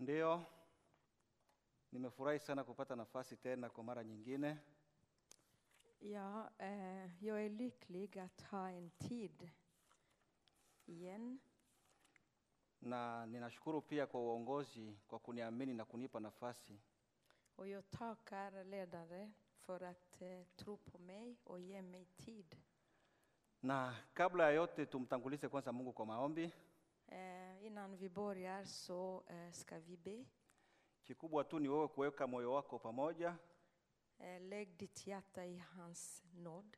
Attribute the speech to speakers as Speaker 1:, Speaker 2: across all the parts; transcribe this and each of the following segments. Speaker 1: Ndiyo, nimefurahi sana kupata nafasi tena kwa mara nyingine
Speaker 2: Ja, eh, jag är lycklig att ha en tid igen.
Speaker 1: na ninashukuru pia kwa uongozi kwa kuniamini na kunipa nafasi.
Speaker 2: Och jag tackar ledare för att eh, tro på mig och ge mig tid.
Speaker 1: Na kabla ya yote, tumtangulize kwanza Mungu kwa maombi.
Speaker 2: Eh, innan vi börjar så eh, ska vi be.
Speaker 1: Kikubwa tu ni wewe kuweka moyo wako pamoja,
Speaker 2: Eh, lägg ditt hjärta i hans nåd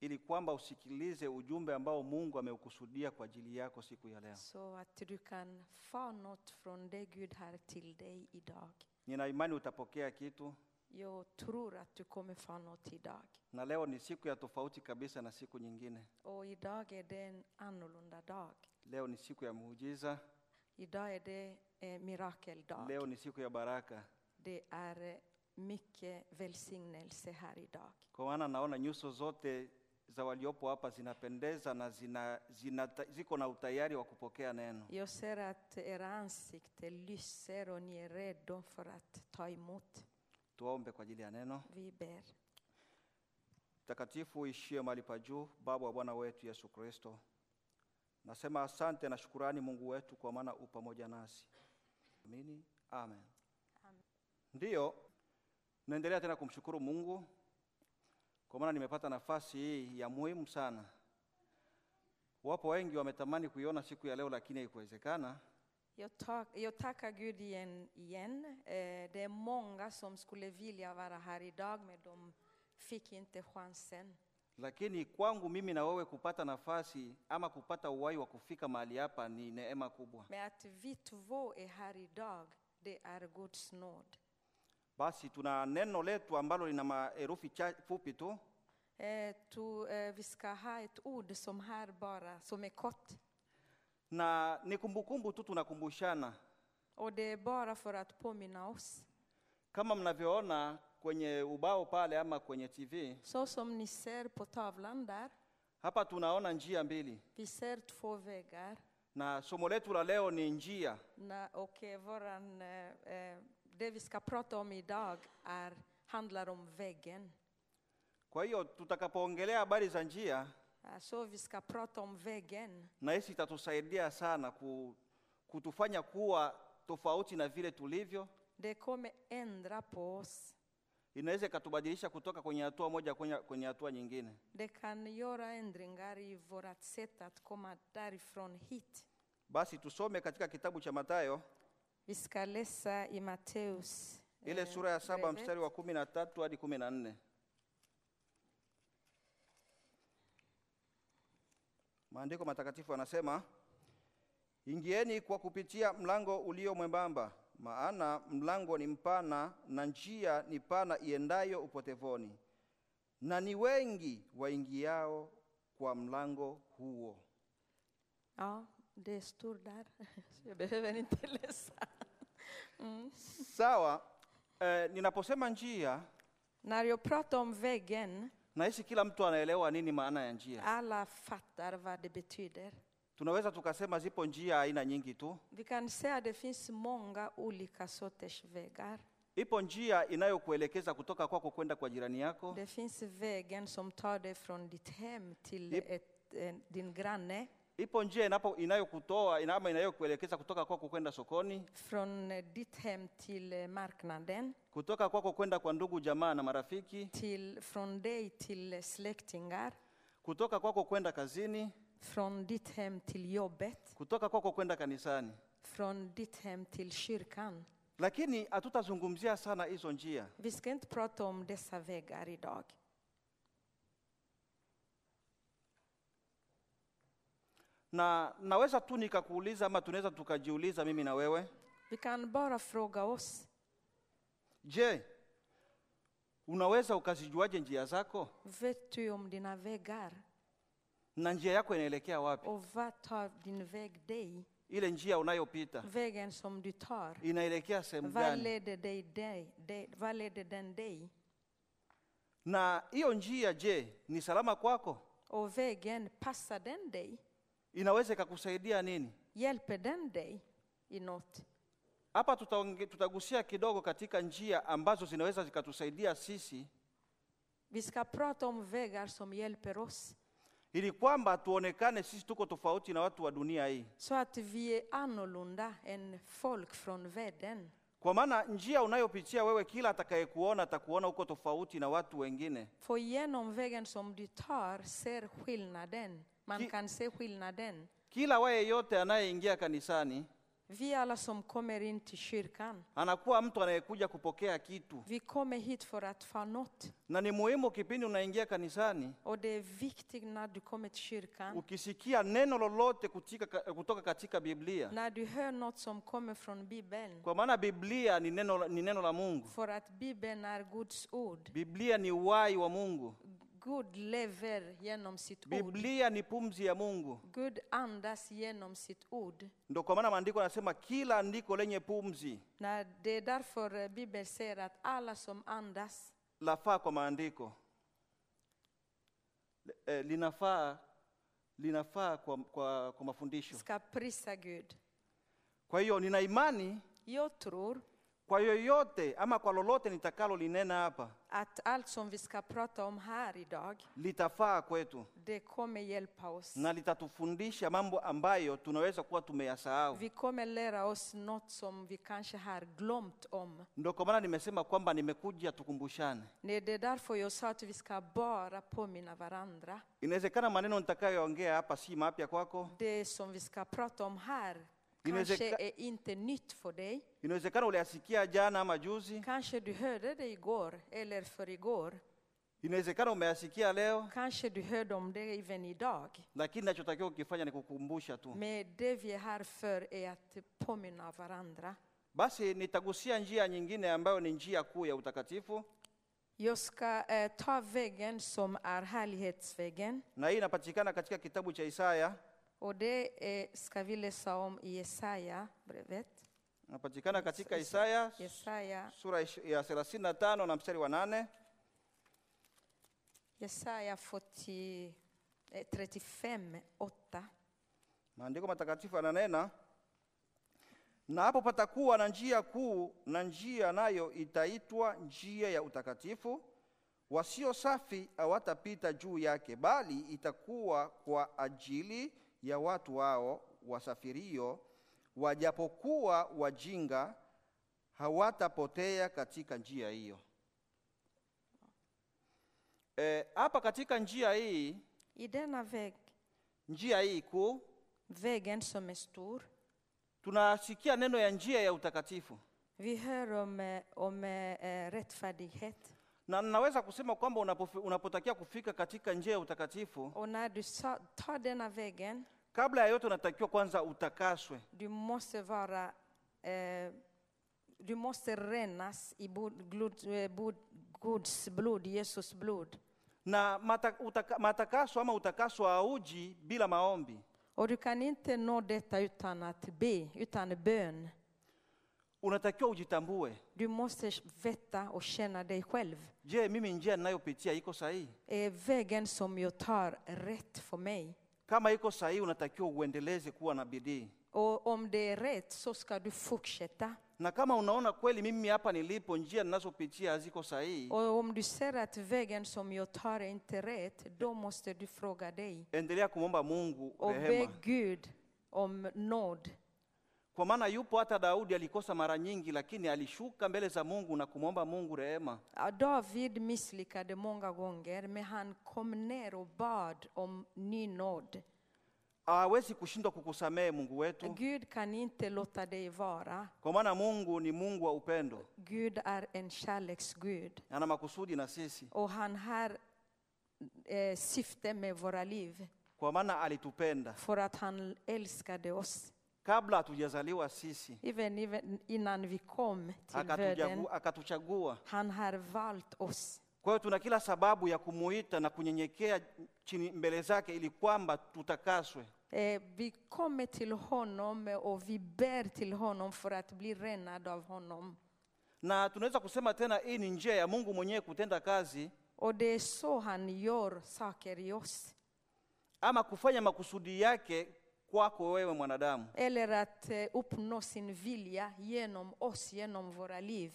Speaker 1: ili kwamba usikilize ujumbe ambao Mungu ameukusudia kwa ajili yako siku ya leo.
Speaker 2: så att du kan få något från det Gud har till dig idag.
Speaker 1: Nina imani utapokea kitu,
Speaker 2: Jag tror att du kommer få något idag.
Speaker 1: na leo ni siku ya tofauti kabisa na siku nyingine.
Speaker 2: Och idag är det en annorlunda dag.
Speaker 1: Leo ni siku ya muujiza,
Speaker 2: Idag är det eh, mirakeldag.
Speaker 1: leo ni siku ya baraka,
Speaker 2: Det är eh, mycket välsignelse här idag.
Speaker 1: kwa maana naona nyuso zote za waliopo hapa zinapendeza na zina, zina, ziko na utayari wa kupokea neno.
Speaker 2: Jag ser att era ansikten lyser och ni är redo för att ta emot.
Speaker 1: Tuombe kwa ajili ya neno.
Speaker 2: Vi ber.
Speaker 1: Mtakatifu ishie mahali pa juu, Baba wa Bwana wetu Yesu Kristo, nasema asante na shukurani Mungu wetu, kwa maana u pamoja nasi. Amini, amen. Ndiyo, naendelea tena kumshukuru Mungu kwa maana nimepata nafasi hii ya muhimu sana. Wapo wengi wametamani kuiona siku ya leo, lakini haikuwezekana.
Speaker 2: Jag, tack, jag tackar Gud igen. igen. Eh, det är många som skulle vilja vara här idag men de fick inte chansen.
Speaker 1: Lakini kwangu mimi na wewe kupata nafasi ama kupata uwai wa kufika mahali hapa ni neema kubwa.
Speaker 2: Men att vi två är här idag, det är Guds nåd.
Speaker 1: Basi tuna neno letu ambalo lina maherufi cha- fupi tu,
Speaker 2: Eh, to, eh, vi ska ha ett ord som här bara, som är kort.
Speaker 1: na ni kumbukumbu tu, tunakumbushana.
Speaker 2: Och det är bara för att påminna oss.
Speaker 1: Kama mnavyoona kwenye ubao pale ama kwenye TV,
Speaker 2: Så som ni ser på tavlan där,
Speaker 1: hapa tunaona njia mbili,
Speaker 2: vi ser två vägar.
Speaker 1: na somo letu la leo ni njia.
Speaker 2: Na, och eh, våran, eh, eh, det vi ska prata om idag är, handlar om vägen.
Speaker 1: Kwa hiyo tutakapoongelea habari za njia,
Speaker 2: Eh, Så vi ska prata om vägen.
Speaker 1: na hisi itatusaidia sana ku, kutufanya kuwa tofauti na vile tulivyo.
Speaker 2: Det kommer ändra på oss.
Speaker 1: Inaweza ikatubadilisha kutoka kwenye hatua moja kwenye, kwenye hatua nyingine.
Speaker 2: Det kan göra ändringar i vårt sätt att komma därifrån hit.
Speaker 1: Basi tusome katika kitabu cha Mathayo
Speaker 2: Vi ska läsa i Matteus.
Speaker 1: ile
Speaker 2: eh,
Speaker 1: sura ya saba
Speaker 2: brevet.
Speaker 1: mstari wa kumi na tatu hadi kumi na nne maandiko matakatifu anasema ingieni kwa kupitia mlango ulio mwembamba maana mlango ni mpana na njia ni pana iendayo upotevoni na ni wengi waingiao kwa mlango huo
Speaker 2: Ja, det står där. Så jag behöver inte läsa.
Speaker 1: sawa eh, ninaposema njia
Speaker 2: När jag pratar om väggen,
Speaker 1: nahisi kila mtu anaelewa nini maana ya njia
Speaker 2: alla fattar vad det betyder.
Speaker 1: Tunaweza tukasema zipo njia aina nyingi tu.
Speaker 2: Vi kan säga att det finns många olika sorters vägar.
Speaker 1: Ipo njia inayokuelekeza kutoka kwako kwenda kwa jirani yako.
Speaker 2: Det finns vägen som tar dig från ditt hem till
Speaker 1: Japp.
Speaker 2: ett, en, din granne,
Speaker 1: Ipo njia inapo inayokutoa ina- ama inayokuelekeza kutoka kwako kwenda sokoni,
Speaker 2: från eh, ditt hem till eh, marknaden,
Speaker 1: kutoka kwako kwenda kwa ndugu jamaa na marafiki,
Speaker 2: till, från dig till eh, släktingar,
Speaker 1: kutoka kwako kwenda kazini,
Speaker 2: från ditt hem till jobbet,
Speaker 1: kutoka kwako kwenda kanisani.
Speaker 2: från ditt hem till kyrkan.
Speaker 1: Lakini hatutazungumzia sana hizo njia.
Speaker 2: Vi ska inte prata om dessa vägar idag.
Speaker 1: Na naweza tu nikakuuliza ama tunaweza tukajiuliza mimi na wewe,
Speaker 2: Vi kan bara fråga oss,
Speaker 1: je, unaweza ukazijuaje njia zako
Speaker 2: vet du om dina vägar?
Speaker 1: na njia yako inaelekea wapi?
Speaker 2: Och vad tar din väg dig?
Speaker 1: Ile njia unayopita
Speaker 2: Vägen som du tar,
Speaker 1: inaelekea sehemu
Speaker 2: vad
Speaker 1: gani
Speaker 2: leder, dig, dig, dig, vad leder den dig?
Speaker 1: na hiyo njia je ni salama kwako
Speaker 2: Och vägen, passar den dig?
Speaker 1: inaweza ikakusaidia nini
Speaker 2: Hjälper den dig i något?
Speaker 1: Hapa tutaonge- tutagusia kidogo katika njia ambazo zinaweza zikatusaidia sisi
Speaker 2: Vi ska prata om vägar som hjälper oss
Speaker 1: ili kwamba tuonekane sisi tuko tofauti na watu wa dunia hii.
Speaker 2: så att vi är annorlunda än folk från världen.
Speaker 1: Kwa maana njia unayopitia wewe, kila atakayekuona atakuona uko tofauti na watu wengine.
Speaker 2: För genom vägen som du tar ser skillnaden. Man
Speaker 1: Ki-
Speaker 2: kan se skillnaden.
Speaker 1: Kila wa yeyote anayeingia kanisani
Speaker 2: Vi alla som kommer in till kyrkan,
Speaker 1: anakuwa mtu anayekuja kupokea kitu,
Speaker 2: vi kommer hit för att få något.
Speaker 1: na ni muhimu kipindi unaingia kanisani
Speaker 2: Och det är viktigt när du kommer till kyrkan,
Speaker 1: ukisikia neno lolote kutika, ka- kutoka katika Biblia,
Speaker 2: när du hör något som kommer från Bibeln.
Speaker 1: kwa maana Biblia ni neno, la- ni neno la Mungu.
Speaker 2: För att Bibeln är Guds ord.
Speaker 1: Biblia ni uhai wa Mungu.
Speaker 2: Gud lever genom sitt ord.
Speaker 1: Biblia ni pumzi ya Mungu.
Speaker 2: Gud andas genom sitt ord.
Speaker 1: Ndio kwa maana maandiko yanasema kila andiko lenye pumzi
Speaker 2: När det är därför eh, Bibeln säger att alla som andas
Speaker 1: lafaa kwa maandiko Le- eh, linafaa linafaa kwa, kwa, kwa mafundisho.
Speaker 2: ska prisa Gud.
Speaker 1: Kwa hiyo nina imani
Speaker 2: Jag tror
Speaker 1: kwa yoyote ama kwa lolote nitakalolinena hapa
Speaker 2: att allt som vi ska prata om här idag,
Speaker 1: litafaa kwetu
Speaker 2: det kommer hjälpa oss.
Speaker 1: na litatufundisha mambo ambayo tunaweza kuwa tumeyasahau.
Speaker 2: Vi kommer lära oss något som vi kanske har glömt om.
Speaker 1: Ndio kwa maana nimesema kwamba nimekuja tukumbushane.
Speaker 2: Nej, Det är därför jag sa att vi ska bara påminna varandra.
Speaker 1: Inawezekana maneno nitakayoongea hapa si mapya kwako,
Speaker 2: Det som vi ska prata om här
Speaker 1: Inezeka-
Speaker 2: kanske är inte nytt för dig.
Speaker 1: inawezekana uliyasikia jana ama juzi,
Speaker 2: Kanske du hörde det igår eller för igår.
Speaker 1: inawezekana umeyasikia leo,
Speaker 2: Kanske du hörde om det även idag.
Speaker 1: lakini ninachotakiwa kukifanya ni kukumbusha tu.
Speaker 2: Men det vi är här för är att påminna varandra.
Speaker 1: Basi nitagusia njia nyingine ambayo ni njia kuu ya utakatifu,
Speaker 2: Jag ska eh, ta vägen som är härlighetsvägen.
Speaker 1: na hii inapatikana katika kitabu cha Isaya,
Speaker 2: Och det eh, ska vi läsa om i Jesaja brevet.
Speaker 1: inapatikana katika Isaya
Speaker 2: Jesaja,
Speaker 1: sura ish- ya 35 na mstari wa 8
Speaker 2: Jesaja 40, eh, 35, 8.
Speaker 1: maandiko matakatifu yananena na hapo patakuwa na njia kuu na njia nayo itaitwa njia ya utakatifu wasio safi hawatapita juu yake bali itakuwa kwa ajili ya watu wao wasafirio wajapokuwa wajinga hawatapotea katika njia hiyo Eh, hapa katika njia hii
Speaker 2: I denna väg,
Speaker 1: njia hii kuu
Speaker 2: vägen som är stor,
Speaker 1: tunasikia neno ya njia ya utakatifu
Speaker 2: vi hör om, eh, om eh, eh, rättfärdighet.
Speaker 1: na ninaweza kusema kwamba unapofi- unapotakiwa kufika katika njia ya utakatifu
Speaker 2: Och när du sa- tar denna vägen,
Speaker 1: kabla ya yote unatakiwa kwanza utakaswe
Speaker 2: du måste vara eh, du måste renas i bod- glod- eh, bod- Guds blod, Jesus blod.
Speaker 1: na mata, utaka, matakaso ama utakaso hauji bila maombi
Speaker 2: Och du kan inte nå detta utan att be, utan bön.
Speaker 1: unatakiwa ujitambue
Speaker 2: Du måste veta och känna dig själv.
Speaker 1: je mimi njia ninayopitia iko sahihi
Speaker 2: Är vägen som jag tar rätt för mig?
Speaker 1: kama iko sahihi unatakiwa uendeleze kuwa na bidii
Speaker 2: Och om det är rätt så ska du fortsätta.
Speaker 1: na kama unaona kweli mimi hapa nilipo njia ninazopitia haziko sahihi
Speaker 2: Och om du ser att vägen som jag tar är inte rätt, då måste du fråga dig
Speaker 1: endelea kumwomba mungu
Speaker 2: och be
Speaker 1: rehema
Speaker 2: Gud om nåd.
Speaker 1: Kwa maana yupo hata Daudi alikosa mara nyingi, lakini alishuka mbele za Mungu na kumwomba Mungu rehema.
Speaker 2: Ja, David misslyckade många gånger, men han kom ner och bad om ny nåd.
Speaker 1: Hawezi kushindwa kukusamehe Mungu wetu,
Speaker 2: Gud kan inte låta dig vara.
Speaker 1: kwa maana Mungu ni Mungu wa upendo,
Speaker 2: Gud är en kärleksgud
Speaker 1: ana makusudi na sisi,
Speaker 2: och han har eh, syfte med våra liv
Speaker 1: kwa maana alitupenda
Speaker 2: för att han älskade oss.
Speaker 1: kabla hatujazaliwa sisi,
Speaker 2: Även, även innan vi kom till världen.
Speaker 1: akatujagu- akatuchagua.
Speaker 2: Han har valt oss.
Speaker 1: Kwa hiyo tuna kila sababu ya kumuita na kunyenyekea chini mbele zake, ili kwamba tutakaswe.
Speaker 2: Eh, vi kommer till honom och vi ber till honom för att bli renade av honom.
Speaker 1: Na tunaweza kusema tena, hii ni njia ya Mungu mwenyewe kutenda kazi
Speaker 2: Och det är så han gör saker i oss.
Speaker 1: ama kufanya makusudi yake kwako wewe mwanadamu
Speaker 2: eller att eh, uppnå sin vilja genom oss, genom våra liv.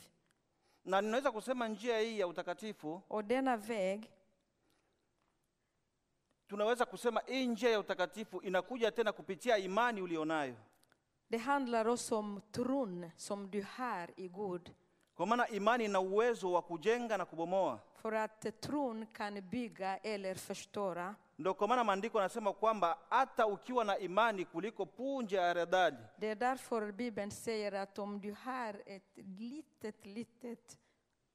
Speaker 1: na ninaweza kusema njia hii ya utakatifu
Speaker 2: Och denna väg,
Speaker 1: tunaweza kusema hii njia ya utakatifu inakuja tena kupitia imani ulionayo
Speaker 2: det handlar också om tron som du har i Gud.
Speaker 1: kwa maana imani ina uwezo wa kujenga na kubomoa
Speaker 2: För att eh, tron kan bygga eller förstöra.
Speaker 1: ndo kwa maana maandiko anasema kwamba hata ukiwa na imani kuliko punje ya haradali
Speaker 2: Det är därför Bibeln säger att om du har ett litet, litet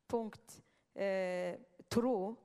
Speaker 2: punkt eh, tro,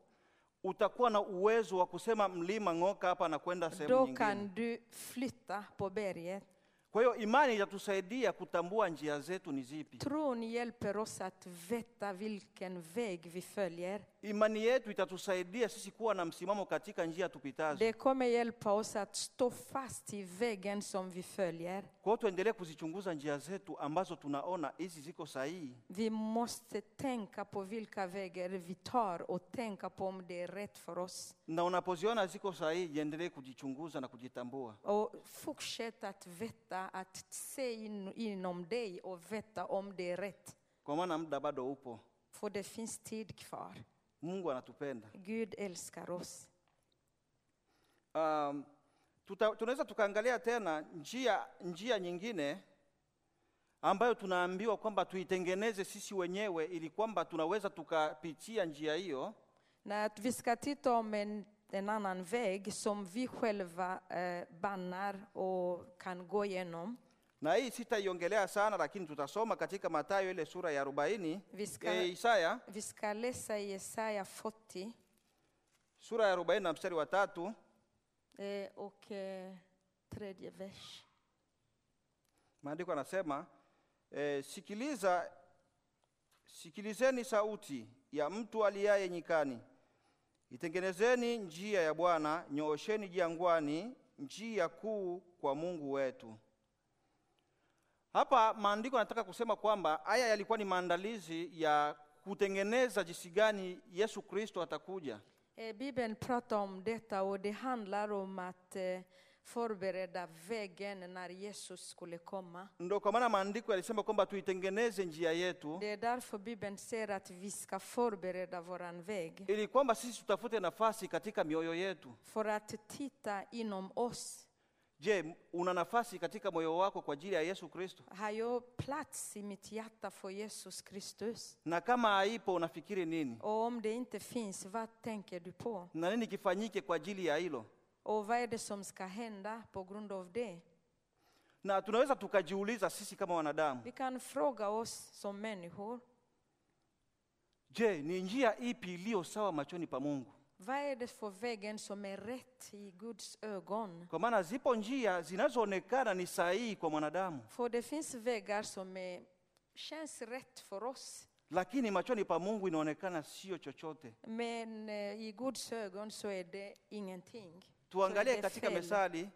Speaker 1: utakuwa na uwezo wa kusema mlima ng'oka hapa na kwenda sehemu
Speaker 2: då
Speaker 1: nyingine
Speaker 2: kan du flytta på berget.
Speaker 1: kwa hiyo imani itatusaidia kutambua njia zetu ni zipi
Speaker 2: Tron hjälper oss att veta vilken väg vi följer.
Speaker 1: imani yetu itatusaidia sisi kuwa na msimamo katika njia tupitazo
Speaker 2: Det kommer hjälpa oss att stå fast i vägen som vi följer.
Speaker 1: kwa hiyo tuendelee kuzichunguza njia zetu ambazo tunaona hizi ziko sahihi
Speaker 2: Vi måste tänka på vilka vägar vi tar och tänka på om det är rätt för oss.
Speaker 1: na unapoziona ziko sahihi jiendelee kujichunguza na kujitambua
Speaker 2: Och fortsätt att veta, att se in, inom dig och veta om det är rätt.
Speaker 1: kwa maana muda bado upo
Speaker 2: För det finns tid kvar.
Speaker 1: mungu anatupenda
Speaker 2: Gud älskar oss.
Speaker 1: um, tuta, tunaweza tukaangalia tena njia, njia nyingine ambayo tunaambiwa kwamba tuitengeneze sisi wenyewe ili kwamba tunaweza tukapitia njia hiyo
Speaker 2: När att vi ska titta om en, en annan väg som vi själva eh, bannar och kan gå igenom.
Speaker 1: na hii sitaiongelea sana lakini tutasoma katika matayo ile sura ya 40
Speaker 2: Vi ska,
Speaker 1: e, isaya
Speaker 2: vi ska läsa i Jesaja 40
Speaker 1: sura ya 40 na mstari wa tatu
Speaker 2: eh, och eh, tredje vers.
Speaker 1: maandiko anasema e, sikiliza sikilizeni sauti ya mtu aliaye nyikani itengenezeni njia ya bwana nyoosheni jangwani njia kuu kwa mungu wetu hapa maandiko anataka kusema kwamba haya yalikuwa ni maandalizi ya kutengeneza jinsi gani yesu kristo atakuja
Speaker 2: Eh, Bibeln pratar om detta och det handlar om att eh, förbereda vägen när Jesus skulle komma.
Speaker 1: ndo kwa maana maandiko yalisema kwamba tuitengeneze njia yetu
Speaker 2: Det är därför Bibeln säger att vi ska förbereda våran väg.
Speaker 1: ili kwamba sisi tutafute nafasi katika mioyo yetu
Speaker 2: För att titta inom oss.
Speaker 1: Je, una nafasi katika moyo wako kwa ajili ya Yesu Kristo?
Speaker 2: Har jag plats i mitt hjärta för Jesus Kristus?
Speaker 1: Na kama haipo unafikiri nini?
Speaker 2: Och om det inte finns, vad tänker du på?
Speaker 1: Na nini kifanyike kwa ajili ya hilo?
Speaker 2: Och vad är det som ska hända på grund av det?
Speaker 1: Na tunaweza tukajiuliza sisi kama wanadamu,
Speaker 2: Vi kan fråga oss som människor,
Speaker 1: je, ni njia ipi iliyo sawa machoni pa Mungu?
Speaker 2: vad är det för vägen som är rätt i Guds ögon?
Speaker 1: Kwa maana zipo njia zinazoonekana ni sahihi kwa mwanadamu,
Speaker 2: För det finns vägar som är, känns rätt för oss,
Speaker 1: lakini machoni pa Mungu inaonekana sio chochote.
Speaker 2: men eh, i Guds ögon så är det ingenting. Så
Speaker 1: Tuangalie
Speaker 2: är
Speaker 1: katika
Speaker 2: fel.
Speaker 1: Methali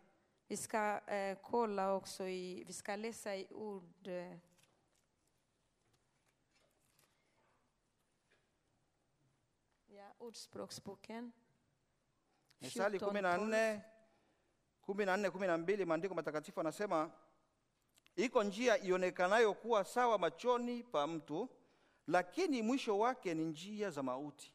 Speaker 2: Vi ska eh, kolla också i, vi ska läsa i ord eh, ja, Ordspråksboken.
Speaker 1: Mithali
Speaker 2: 14,
Speaker 1: kumi na nne kumi na nne kumi na mbili maandiko matakatifu anasema iko njia ionekanayo kuwa sawa machoni pa mtu lakini mwisho wake ni njia za mauti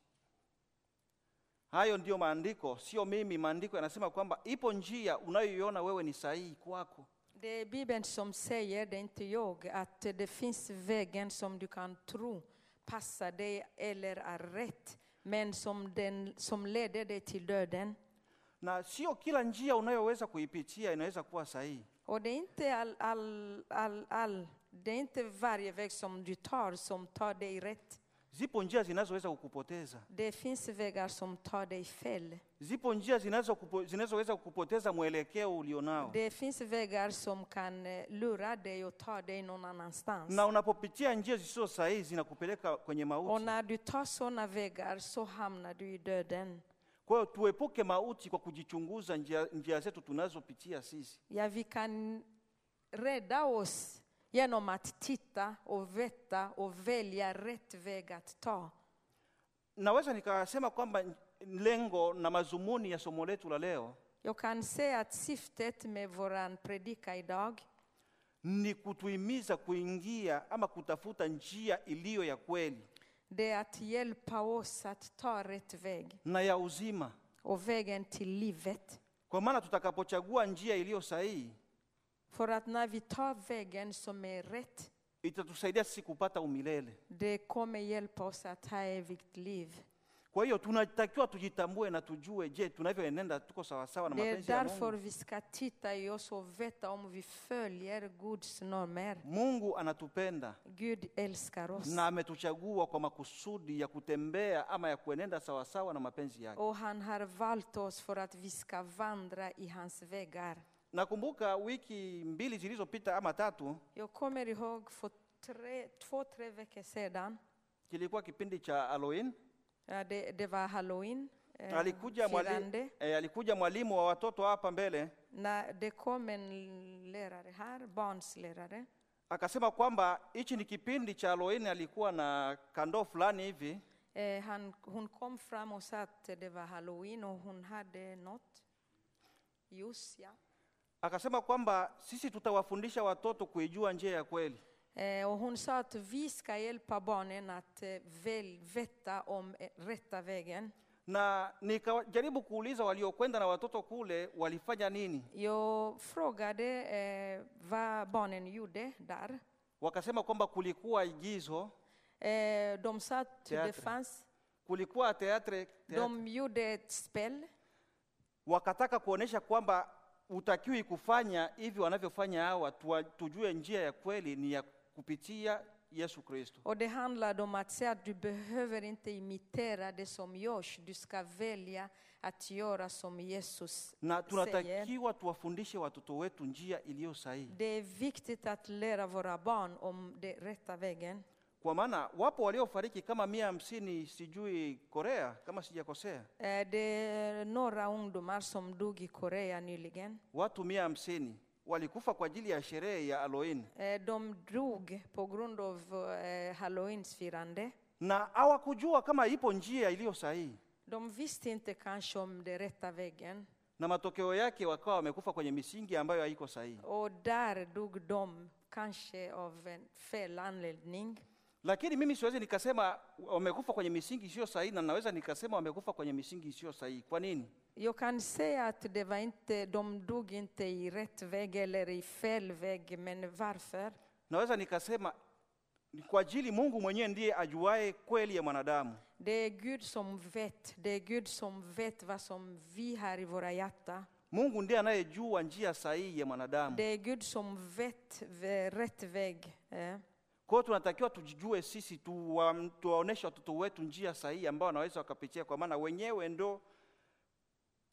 Speaker 1: hayo ndiyo maandiko sio mimi maandiko yanasema kwamba ipo njia unayoiona wewe ni sahihi kwako
Speaker 2: Det är Bibeln som säger, det är inte jag, att det finns vägen som du kan tro passar dig eller är rätt, men som, den, som leder dig till döden.
Speaker 1: na sio kila njia unayoweza kuipitia inaweza kuwa sahihi
Speaker 2: Och det är inte, all, all, all, all, det är inte varje väg som du tar som tar dig rätt.
Speaker 1: zipo njia zinazoweza kukupoteza
Speaker 2: Det finns vägar som tar dig fel.
Speaker 1: zipo njia zinazokupo- zinazoweza kukupoteza mwelekeo ulionao
Speaker 2: Det finns vägar som kan eh, lura dig och ta dig någon annanstans.
Speaker 1: na unapopitia njia zisizo sahihi zinakupeleka kwenye
Speaker 2: Och
Speaker 1: mauti.
Speaker 2: när du tar sådana vägar så hamnar du i döden.
Speaker 1: Kwa hiyo tuepuke mauti kwa kujichunguza njia, njia zetu tunazopitia sisi.
Speaker 2: Ja, vi kan rädda oss genom att titta och veta och välja rätt väg att ta.
Speaker 1: Naweza nikasema kwamba n- lengo na mazumuni ya somo letu la leo
Speaker 2: Jag kan säga att syftet med våran predika idag
Speaker 1: ni kutuhimiza kuingia ama kutafuta njia iliyo ya kweli
Speaker 2: det är att hjälpa oss att ta rätt väg
Speaker 1: na ya uzima,
Speaker 2: och vägen till livet.
Speaker 1: kwa maana tutakapochagua njia iliyo sahihi
Speaker 2: För att när vi tar vägen som är rätt,
Speaker 1: itatusaidia sisi kupata umilele.
Speaker 2: det kommer hjälpa oss att ha evigt liv.
Speaker 1: Kwa hiyo tunatakiwa tujitambue na tujue, je, tunavyoenenda tuko sawasawa na
Speaker 2: Det är
Speaker 1: mapenzi ya
Speaker 2: därför
Speaker 1: Mungu?
Speaker 2: vi ska titta i oss och veta om vi följer Guds normer.
Speaker 1: Mungu anatupenda
Speaker 2: Gud älskar oss
Speaker 1: na ametuchagua kwa makusudi ya kutembea ama ya kuenenda sawasawa na mapenzi yake.
Speaker 2: och han har valt oss för att vi ska vandra i hans vägar.
Speaker 1: Nakumbuka wiki mbili zilizopita ama tatu,
Speaker 2: Jag kommer ihåg för tre, två, tre veckor sedan,
Speaker 1: kilikuwa kipindi cha Halloween.
Speaker 2: ja, det, det var halloween, eh,
Speaker 1: Alikuja
Speaker 2: firande.
Speaker 1: mwalimu, e, alikuja mwalimu wa watoto hapa mbele
Speaker 2: När det kom en lärare här, barnslärare.
Speaker 1: akasema kwamba hichi ni kipindi cha Halloween. Alikuwa na kandoo fulani hivi,
Speaker 2: Eh, han, hon kom fram och sa att det var halloween och hon hade något ljus. Ja.
Speaker 1: akasema kwamba sisi tutawafundisha watoto kuijua njia ya kweli.
Speaker 2: Eh, och hon sa att vi ska hjälpa barnen att eh, väl, veta om eh, rätta vägen.
Speaker 1: na nikajaribu kuuliza waliokwenda na watoto kule walifanya nini.
Speaker 2: Jag frågade eh, vad barnen gjorde där.
Speaker 1: Wakasema kwamba kulikuwa igizo,
Speaker 2: Eh, de sa att det
Speaker 1: Teater.
Speaker 2: fanns,
Speaker 1: kulikuwa teatre, teatre.
Speaker 2: de gjorde ett spel.
Speaker 1: Wakataka kuonesha kwamba utakiwi kufanya hivi wanavyofanya hawa, tuwa, tujue njia ya kweli ni ya kupitia Yesu Kristo.
Speaker 2: Och det handlade om att säga att du behöver inte imitera det som görs. Du ska välja att göra som Jesus
Speaker 1: Na
Speaker 2: säger.
Speaker 1: tunatakiwa tuwafundishe watoto wetu njia iliyo sahihi,
Speaker 2: Det är viktigt att lära våra barn om den rätta vägen.
Speaker 1: kwa maana wapo waliofariki kama mia hamsini sijui Korea kama sijakosea,
Speaker 2: Eh, Det är några ungdomar som dog i Korea nyligen.
Speaker 1: watu mia hamsini walikufa kwa ajili ya sherehe ya Halloween.
Speaker 2: Eh, De dog på grund av eh, halloweensfirande.
Speaker 1: na hawakujua kama ipo njia iliyo sahihi,
Speaker 2: De visste inte kanske om den rätta vägen.
Speaker 1: na matokeo yake wakawa wamekufa kwenye misingi ambayo haiko sahihi.
Speaker 2: Och där dog de, kanske av en fel anledning.
Speaker 1: Lakini mimi siwezi nikasema wamekufa kwenye misingi isiyo sahihi, na naweza nikasema wamekufa kwenye misingi isiyo sahihi. Kwa nini?
Speaker 2: Jag kan säga att det var inte, de dog inte i rätt väg eller i fel väg, men varför?
Speaker 1: Naweza nikasema ni kwa ajili Mungu mwenyewe ndiye ajuaye kweli ya mwanadamu,
Speaker 2: Det är Gud som vet. Det är Gud som vet vad som vi har i våra hjärtan.
Speaker 1: Mungu ndiye anayejua njia sahihi ya mwanadamu.
Speaker 2: Det är Gud som vet v- rätt väg. eh.
Speaker 1: Kwa hiyo tunatakiwa tujijue sisi, tuwa- tuwaoneshe watoto wetu njia sahihi ambao wanaweza wakapitia, kwa maana wenyewe ndo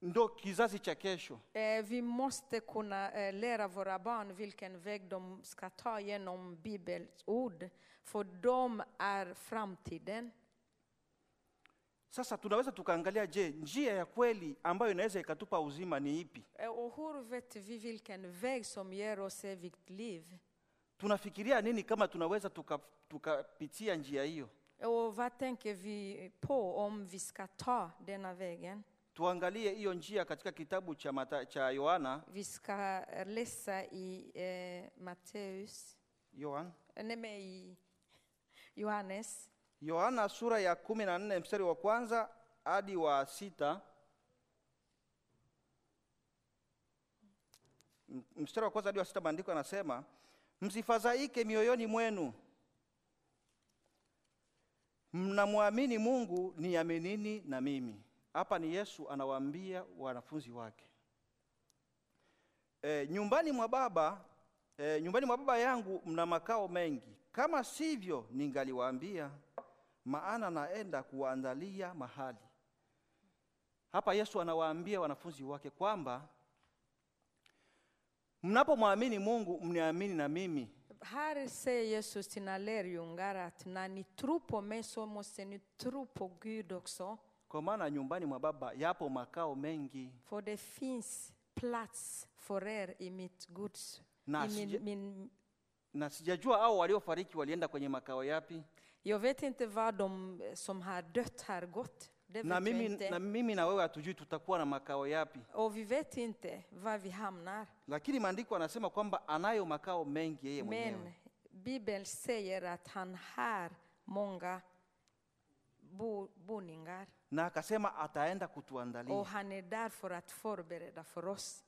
Speaker 1: ndo kizazi cha kesho.
Speaker 2: Eh, Vi måste kunna eh, lära våra barn vilken väg de ska ta genom Bibelns ord, för de är framtiden.
Speaker 1: Sasa tunaweza tukaangalia, je, njia ya kweli ambayo inaweza ikatupa uzima ni ipi?
Speaker 2: Eh, Och hur vet vi vilken väg som ger oss evigt liv?
Speaker 1: Tunafikiria nini kama tunaweza tuka- tukapitia njia hiyo?
Speaker 2: Och vad tänker vi på om vi ska ta denna vägen?
Speaker 1: Tuangalie hiyo njia katika kitabu cha, Mata, cha Yohana
Speaker 2: Vi ska eh, läsa i eh, Matteus,
Speaker 1: Yohana
Speaker 2: eh, nej men i Johannes.
Speaker 1: Yohana sura ya kumi na nne mstari wa kwanza hadi wa sita M- mstari wa kwanza hadi wa sita maandiko yanasema msifadhaike mioyoni mwenu mnamwamini mungu niaminini na mimi hapa ni yesu anawaambia wanafunzi wake e, nyumbani mwa baba e, nyumbani mwa baba yangu mna makao mengi kama sivyo ningaliwaambia maana naenda kuwaandalia mahali hapa yesu anawaambia wanafunzi wake kwamba mnapomwamini mungu mniamini na mimi
Speaker 2: Här säger Jesus till sina lärjungar att när ni tror på mig så måste ni tro på Gud också.
Speaker 1: kwa maana nyumbani mwa baba yapo makao mengi
Speaker 2: För det finns plats för er i mitt Guds,
Speaker 1: Nas-
Speaker 2: i min, min,
Speaker 1: na sijajua hao waliofariki walienda kwenye makao yapi
Speaker 2: jag vet inte var de som har dött har gått. Det
Speaker 1: na
Speaker 2: vet vi
Speaker 1: mimi,
Speaker 2: inte.
Speaker 1: na mimi na wewe hatujui tutakuwa na makao yapi,
Speaker 2: Och vi vet inte var vi hamnar.
Speaker 1: lakini maandiko anasema kwamba anayo makao mengi yeye
Speaker 2: Men
Speaker 1: mwenyewe.
Speaker 2: Bibeln säger att han har många bo, boningar.
Speaker 1: Na akasema ataenda kutuandalia.
Speaker 2: Och han är där för att förbereda för oss.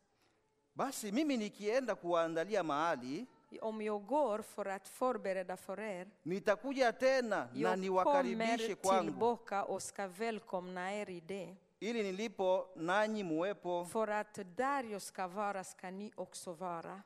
Speaker 1: Basi mimi nikienda kuwaandalia mahali,
Speaker 2: Om jag går för att förbereda för er,
Speaker 1: nitakuja tena na
Speaker 2: jag
Speaker 1: niwakaribishe
Speaker 2: kommer
Speaker 1: kwangu,
Speaker 2: tillbaka och ska välkomna er i det.
Speaker 1: ili nilipo nanyi muwepo,
Speaker 2: För att där jag ska vara ska ni också vara.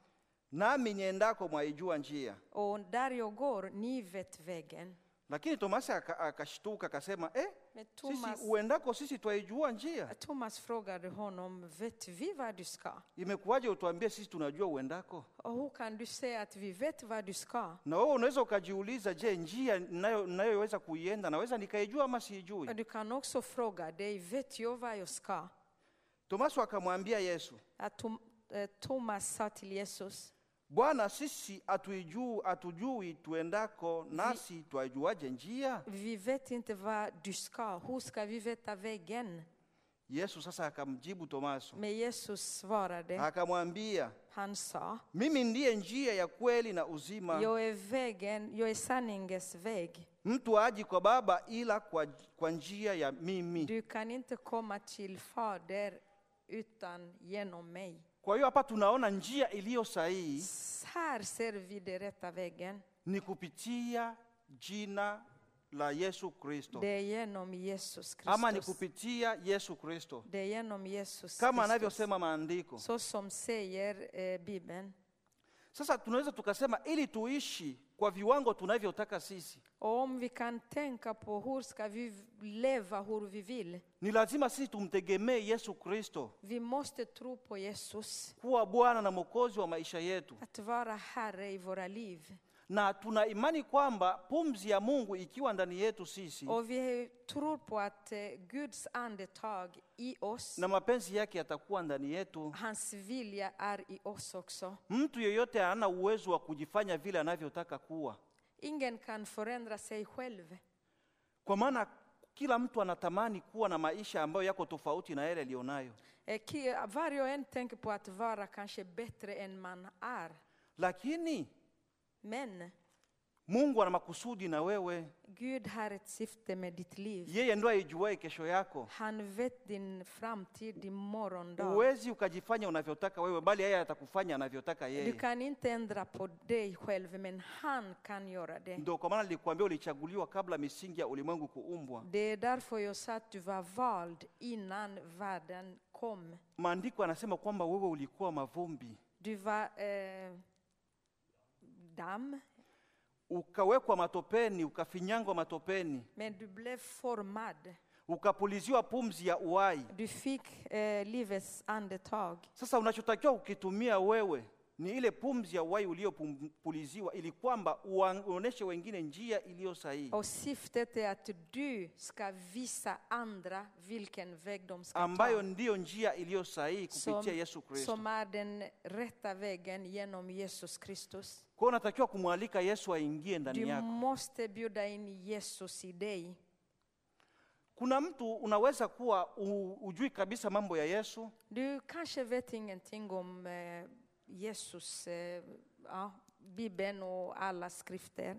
Speaker 1: nami niendako mwaijua njia.
Speaker 2: Och där jag går, ni vet vägen.
Speaker 1: Lakini Tomasi aka- akashtuka akasema, eh,
Speaker 2: Men Thomas-
Speaker 1: sisi uendako sisi twaijua njia,
Speaker 2: Thomas frågade honom, vet vi var du ska?
Speaker 1: imekuwaje utuambie sisi tunajua uendako?
Speaker 2: Och hur kan du säga att vi vet var du ska?
Speaker 1: Na wewe unaweza ukajiuliza, je, njia ninayo- ninayoweza kuienda naweza nikaijua ama siijui?
Speaker 2: Och du kan också fråga dig, vet jag var jag ska?
Speaker 1: Tomaso akamwambia Yesu,
Speaker 2: Att Tom, eh, Thomas sa till Jesus,
Speaker 1: Bwana, sisi hatuijui hatujui tuendako, nasi twajuaje njia?
Speaker 2: vi vet inte var du ska, hur ska vi veta vägen?
Speaker 1: Yesu sasa akamjibu Tomaso
Speaker 2: Men Jesus svarade,
Speaker 1: akamwambia,
Speaker 2: han sa,
Speaker 1: mimi ndiye njia ya kweli na uzima,
Speaker 2: jag är vägen, jag är sanningens väg.
Speaker 1: mtu aji kwa Baba ila kwa, kwa njia ya mimi.
Speaker 2: Du kan inte komma till Fader utan genom mig.
Speaker 1: Kwa hiyo hapa tunaona njia iliyo sahihi
Speaker 2: S- Här ser vi den rätta vägen.
Speaker 1: ni kupitia jina la Yesu Kristo,
Speaker 2: Det är genom Jesus
Speaker 1: ama ni
Speaker 2: Kristus.
Speaker 1: kupitia Yesu Kristo
Speaker 2: Det är genom Jesus
Speaker 1: kama
Speaker 2: Kristus.
Speaker 1: anavyosema maandiko.
Speaker 2: Så som säger eh, Bibeln.
Speaker 1: Sasa tunaweza tukasema ili tuishi kwa viwango tunavyotaka sisi,
Speaker 2: Och om vi kan tänka på hur ska vi v- leva hur vi vill.
Speaker 1: ni lazima sisi tumtegemee Yesu Kristo
Speaker 2: Vi måste tro på Jesus.
Speaker 1: kuwa Bwana na Mwokozi wa maisha yetu,
Speaker 2: Att vara Herre i våra liv.
Speaker 1: na tuna imani kwamba pumzi ya Mungu ikiwa ndani yetu sisi
Speaker 2: Och vi tror på att eh, Guds andetag i oss,
Speaker 1: na mapenzi yake yatakuwa ndani yetu.
Speaker 2: hans vilja är i oss också.
Speaker 1: Mtu yeyote hana uwezo wa kujifanya vile anavyotaka kuwa,
Speaker 2: Ingen kan förändra sig själv.
Speaker 1: kwa maana kila mtu anatamani kuwa na maisha ambayo yako tofauti na yale aliyonayo,
Speaker 2: Eh, ki- Varje och en tänker på att vara kanske bättre än man är.
Speaker 1: lakini
Speaker 2: Men
Speaker 1: Mungu ana makusudi na wewe.
Speaker 2: Gud har ett syfte med ditt liv.
Speaker 1: Yeye ndo aijuae kesho yako.
Speaker 2: Han vet din framtid, din morgondag.
Speaker 1: Huwezi ukajifanya unavyotaka wewe, bali yeye atakufanya anavyotaka
Speaker 2: Du
Speaker 1: yeye.
Speaker 2: kan inte ändra på dig själv, men han kan göra det.
Speaker 1: Ndio kwa maana nilikwambia ulichaguliwa kabla misingi ya ulimwengu kuumbwa.
Speaker 2: Det är därför jag sa att du var vald innan världen kom.
Speaker 1: Maandiko anasema kwamba wewe ulikuwa mavumbi,
Speaker 2: Du var eh, damm,
Speaker 1: ukawekwa matopeni, ukafinyangwa matopeni,
Speaker 2: men du blev formad.
Speaker 1: ukapuliziwa pumzi ya uhai.
Speaker 2: Du fick eh, livets andetag.
Speaker 1: Sasa unachotakiwa kukitumia wewe ni ile pumzi ya uhai uliyopuliziwa, ili kwamba uwa- uoneshe wengine njia iliyo sahihi
Speaker 2: Och syftet är att du ska visa andra vilken väg de ska
Speaker 1: ambayo
Speaker 2: ta.
Speaker 1: ndiyo njia iliyo sahihi
Speaker 2: Som,
Speaker 1: kupitia Yesu Kristo.
Speaker 2: som är den rätta vägen genom Jesus Kristus.
Speaker 1: Kwa hiyo unatakiwa kumwalika Yesu aingie ndani
Speaker 2: Du
Speaker 1: yako.
Speaker 2: måste bjuda in Jesus i dig.
Speaker 1: Kuna mtu unaweza kuwa u- ujui kabisa mambo ya Yesu,
Speaker 2: Du kanske vet ingenting om eh, Jesus, eh, ja, Bibeln och alla skrifter.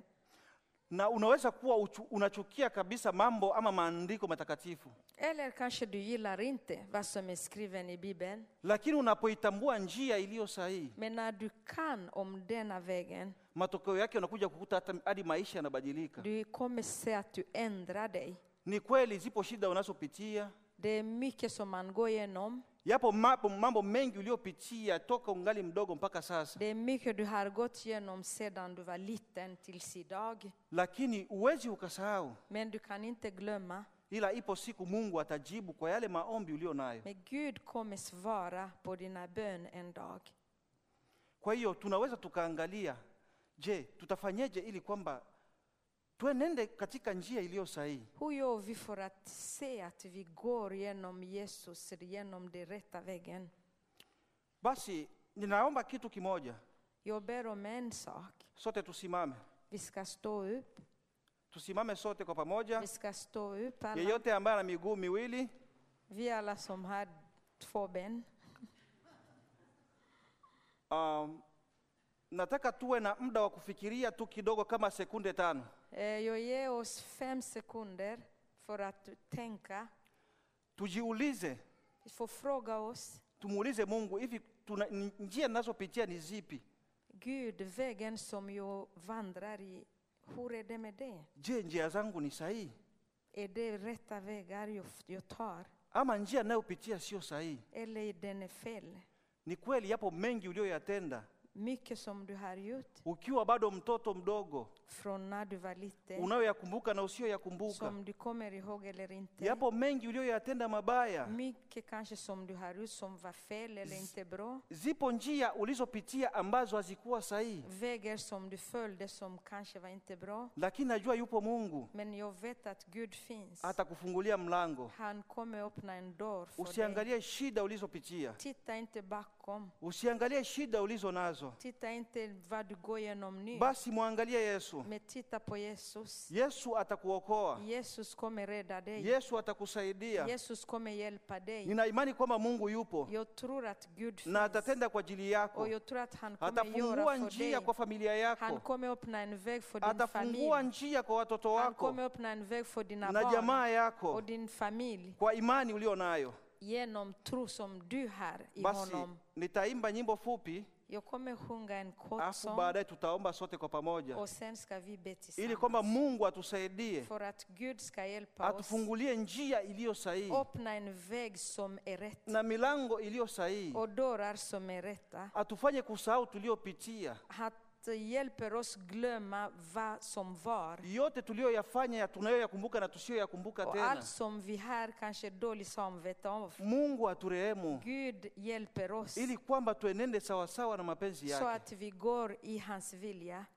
Speaker 1: na unaweza kuwa uchu, unachukia kabisa mambo ama maandiko matakatifu,
Speaker 2: Eller kanske du gillar inte vad som är skriven i Bibeln.
Speaker 1: lakini unapoitambua njia iliyo sahihi,
Speaker 2: Men när du kan om denna vägen,
Speaker 1: matokeo yake unakuja kukuta hata hadi maisha yanabadilika.
Speaker 2: du kommer se att du ändrar dig.
Speaker 1: Ni kweli zipo shida unazopitia,
Speaker 2: Det är mycket som man går igenom.
Speaker 1: yapo mambo, mambo mengi uliyopitia toka ungali mdogo mpaka sasa,
Speaker 2: Det är mycket du har gått igenom sedan du var liten tills idag.
Speaker 1: lakini uwezi ukasahau,
Speaker 2: Men du kan inte glömma.
Speaker 1: ila ipo siku Mungu atajibu kwa yale maombi uliyo nayo.
Speaker 2: Men Gud kommer svara på dina bön en dag.
Speaker 1: Kwa hiyo tunaweza tukaangalia, je, tutafanyeje ili kwamba twenende katika njia iliyo sahihi.
Speaker 2: Hur gör vi för att se att vi går genom Jesus, genom den rätta vägen?
Speaker 1: Basi ninaomba kitu kimoja,
Speaker 2: Jag ber om en sak.
Speaker 1: sote tusimame,
Speaker 2: Vi ska stå upp.
Speaker 1: Tusimame sote kwa pamoja.
Speaker 2: Vi ska stå upp alla.
Speaker 1: Yeyote ambaye ana miguu miwili,
Speaker 2: Vi alla som har två ben.
Speaker 1: um, nataka tuwe na muda wa kufikiria tu kidogo, kama sekunde tano.
Speaker 2: Eh, Jag ger oss fem sekunder för att tänka.
Speaker 1: Tujiulize,
Speaker 2: Vi får fråga oss,
Speaker 1: tumuulize Mungu, hivi tuna, ni- njia ninazopitia ni zipi?
Speaker 2: Gud, vägen som jag vandrar i, hur är det med det?
Speaker 1: Je, njia zangu ni sahihi
Speaker 2: Är det rätta vägar jag, jag tar?
Speaker 1: ama njia ninayopitia sio sahihi?
Speaker 2: Eller är den fel?
Speaker 1: Ni kweli yapo mengi uliyoyatenda
Speaker 2: Mycket som du har gjort
Speaker 1: ukiwa bado mtoto mdogo,
Speaker 2: från när du var liten,
Speaker 1: unayoyakumbuka na usiyoyakumbuka.
Speaker 2: som du kommer ihåg eller inte.
Speaker 1: Yapo mengi uliyoyatenda mabaya.
Speaker 2: Mm. Mycket kanske som du har gjort som var fel eller inte bra.
Speaker 1: Zipo njia ulizopitia ambazo hazikuwa sahihi,
Speaker 2: Vägar som du följde som kanske var inte bra.
Speaker 1: lakini najua yupo Mungu
Speaker 2: Men jag vet att Gud finns.
Speaker 1: atakufungulia mlango.
Speaker 2: Han kommer öppna en dörr för dig.
Speaker 1: Usiangalie shida ulizopitia,
Speaker 2: Titta inte bakom.
Speaker 1: usiangalie shida ulizo nazo,
Speaker 2: Titta inte vad du går igenom nu.
Speaker 1: basi mwangalie Yesu.
Speaker 2: Men titta på Jesus.
Speaker 1: Yesu atakuokoa,
Speaker 2: Jesus kommer rädda dig.
Speaker 1: Yesu atakusaidia.
Speaker 2: Jesus kommer hjälpa dig.
Speaker 1: Nina imani kwamba Mungu yupo
Speaker 2: Jag tror att Gud
Speaker 1: na
Speaker 2: finns.
Speaker 1: atatenda kwa ajili yako,
Speaker 2: Och jag tror att han kommer
Speaker 1: atafungua
Speaker 2: göra för
Speaker 1: njia kwa
Speaker 2: dig.
Speaker 1: familia
Speaker 2: Han
Speaker 1: yako,
Speaker 2: kommer öppna en väg för din
Speaker 1: atafungua
Speaker 2: familj.
Speaker 1: njia kwa watoto
Speaker 2: Han
Speaker 1: wako
Speaker 2: kommer öppna en väg för dina
Speaker 1: na
Speaker 2: barn
Speaker 1: jamaa yako
Speaker 2: och din familj
Speaker 1: kwa imani ulio nayo.
Speaker 2: genom tro som du har i
Speaker 1: Basi
Speaker 2: honom.
Speaker 1: nitaimba nyimbo fupi,
Speaker 2: Jag kommer sjunga en kort
Speaker 1: alafu
Speaker 2: sång
Speaker 1: baadaye tutaomba sote kwa pamoja,
Speaker 2: och sen ska vi be
Speaker 1: ili kwamba
Speaker 2: tillsammans.
Speaker 1: Mungu atusaidie,
Speaker 2: För att Gud ska hjälpa oss.
Speaker 1: atufungulie njia iliyo sahihi
Speaker 2: Öppna en väg som är rätt
Speaker 1: na milango iliyo sahihi,
Speaker 2: och dörrar som är rätta.
Speaker 1: atufanye kusahau tuliopitia,
Speaker 2: Att hjälper oss glömma vad som var.
Speaker 1: yote tuliyoyafanya, ya tunayoyakumbuka na tusiyoyakumbuka
Speaker 2: Och
Speaker 1: tena.
Speaker 2: allt som vi har kanske dåligt samvete av.
Speaker 1: Mungu aturehemu
Speaker 2: Gud hjälper oss
Speaker 1: ili kwamba tuenende sawasawa na mapenzi
Speaker 2: så
Speaker 1: yake.
Speaker 2: att vi går i hans vilja.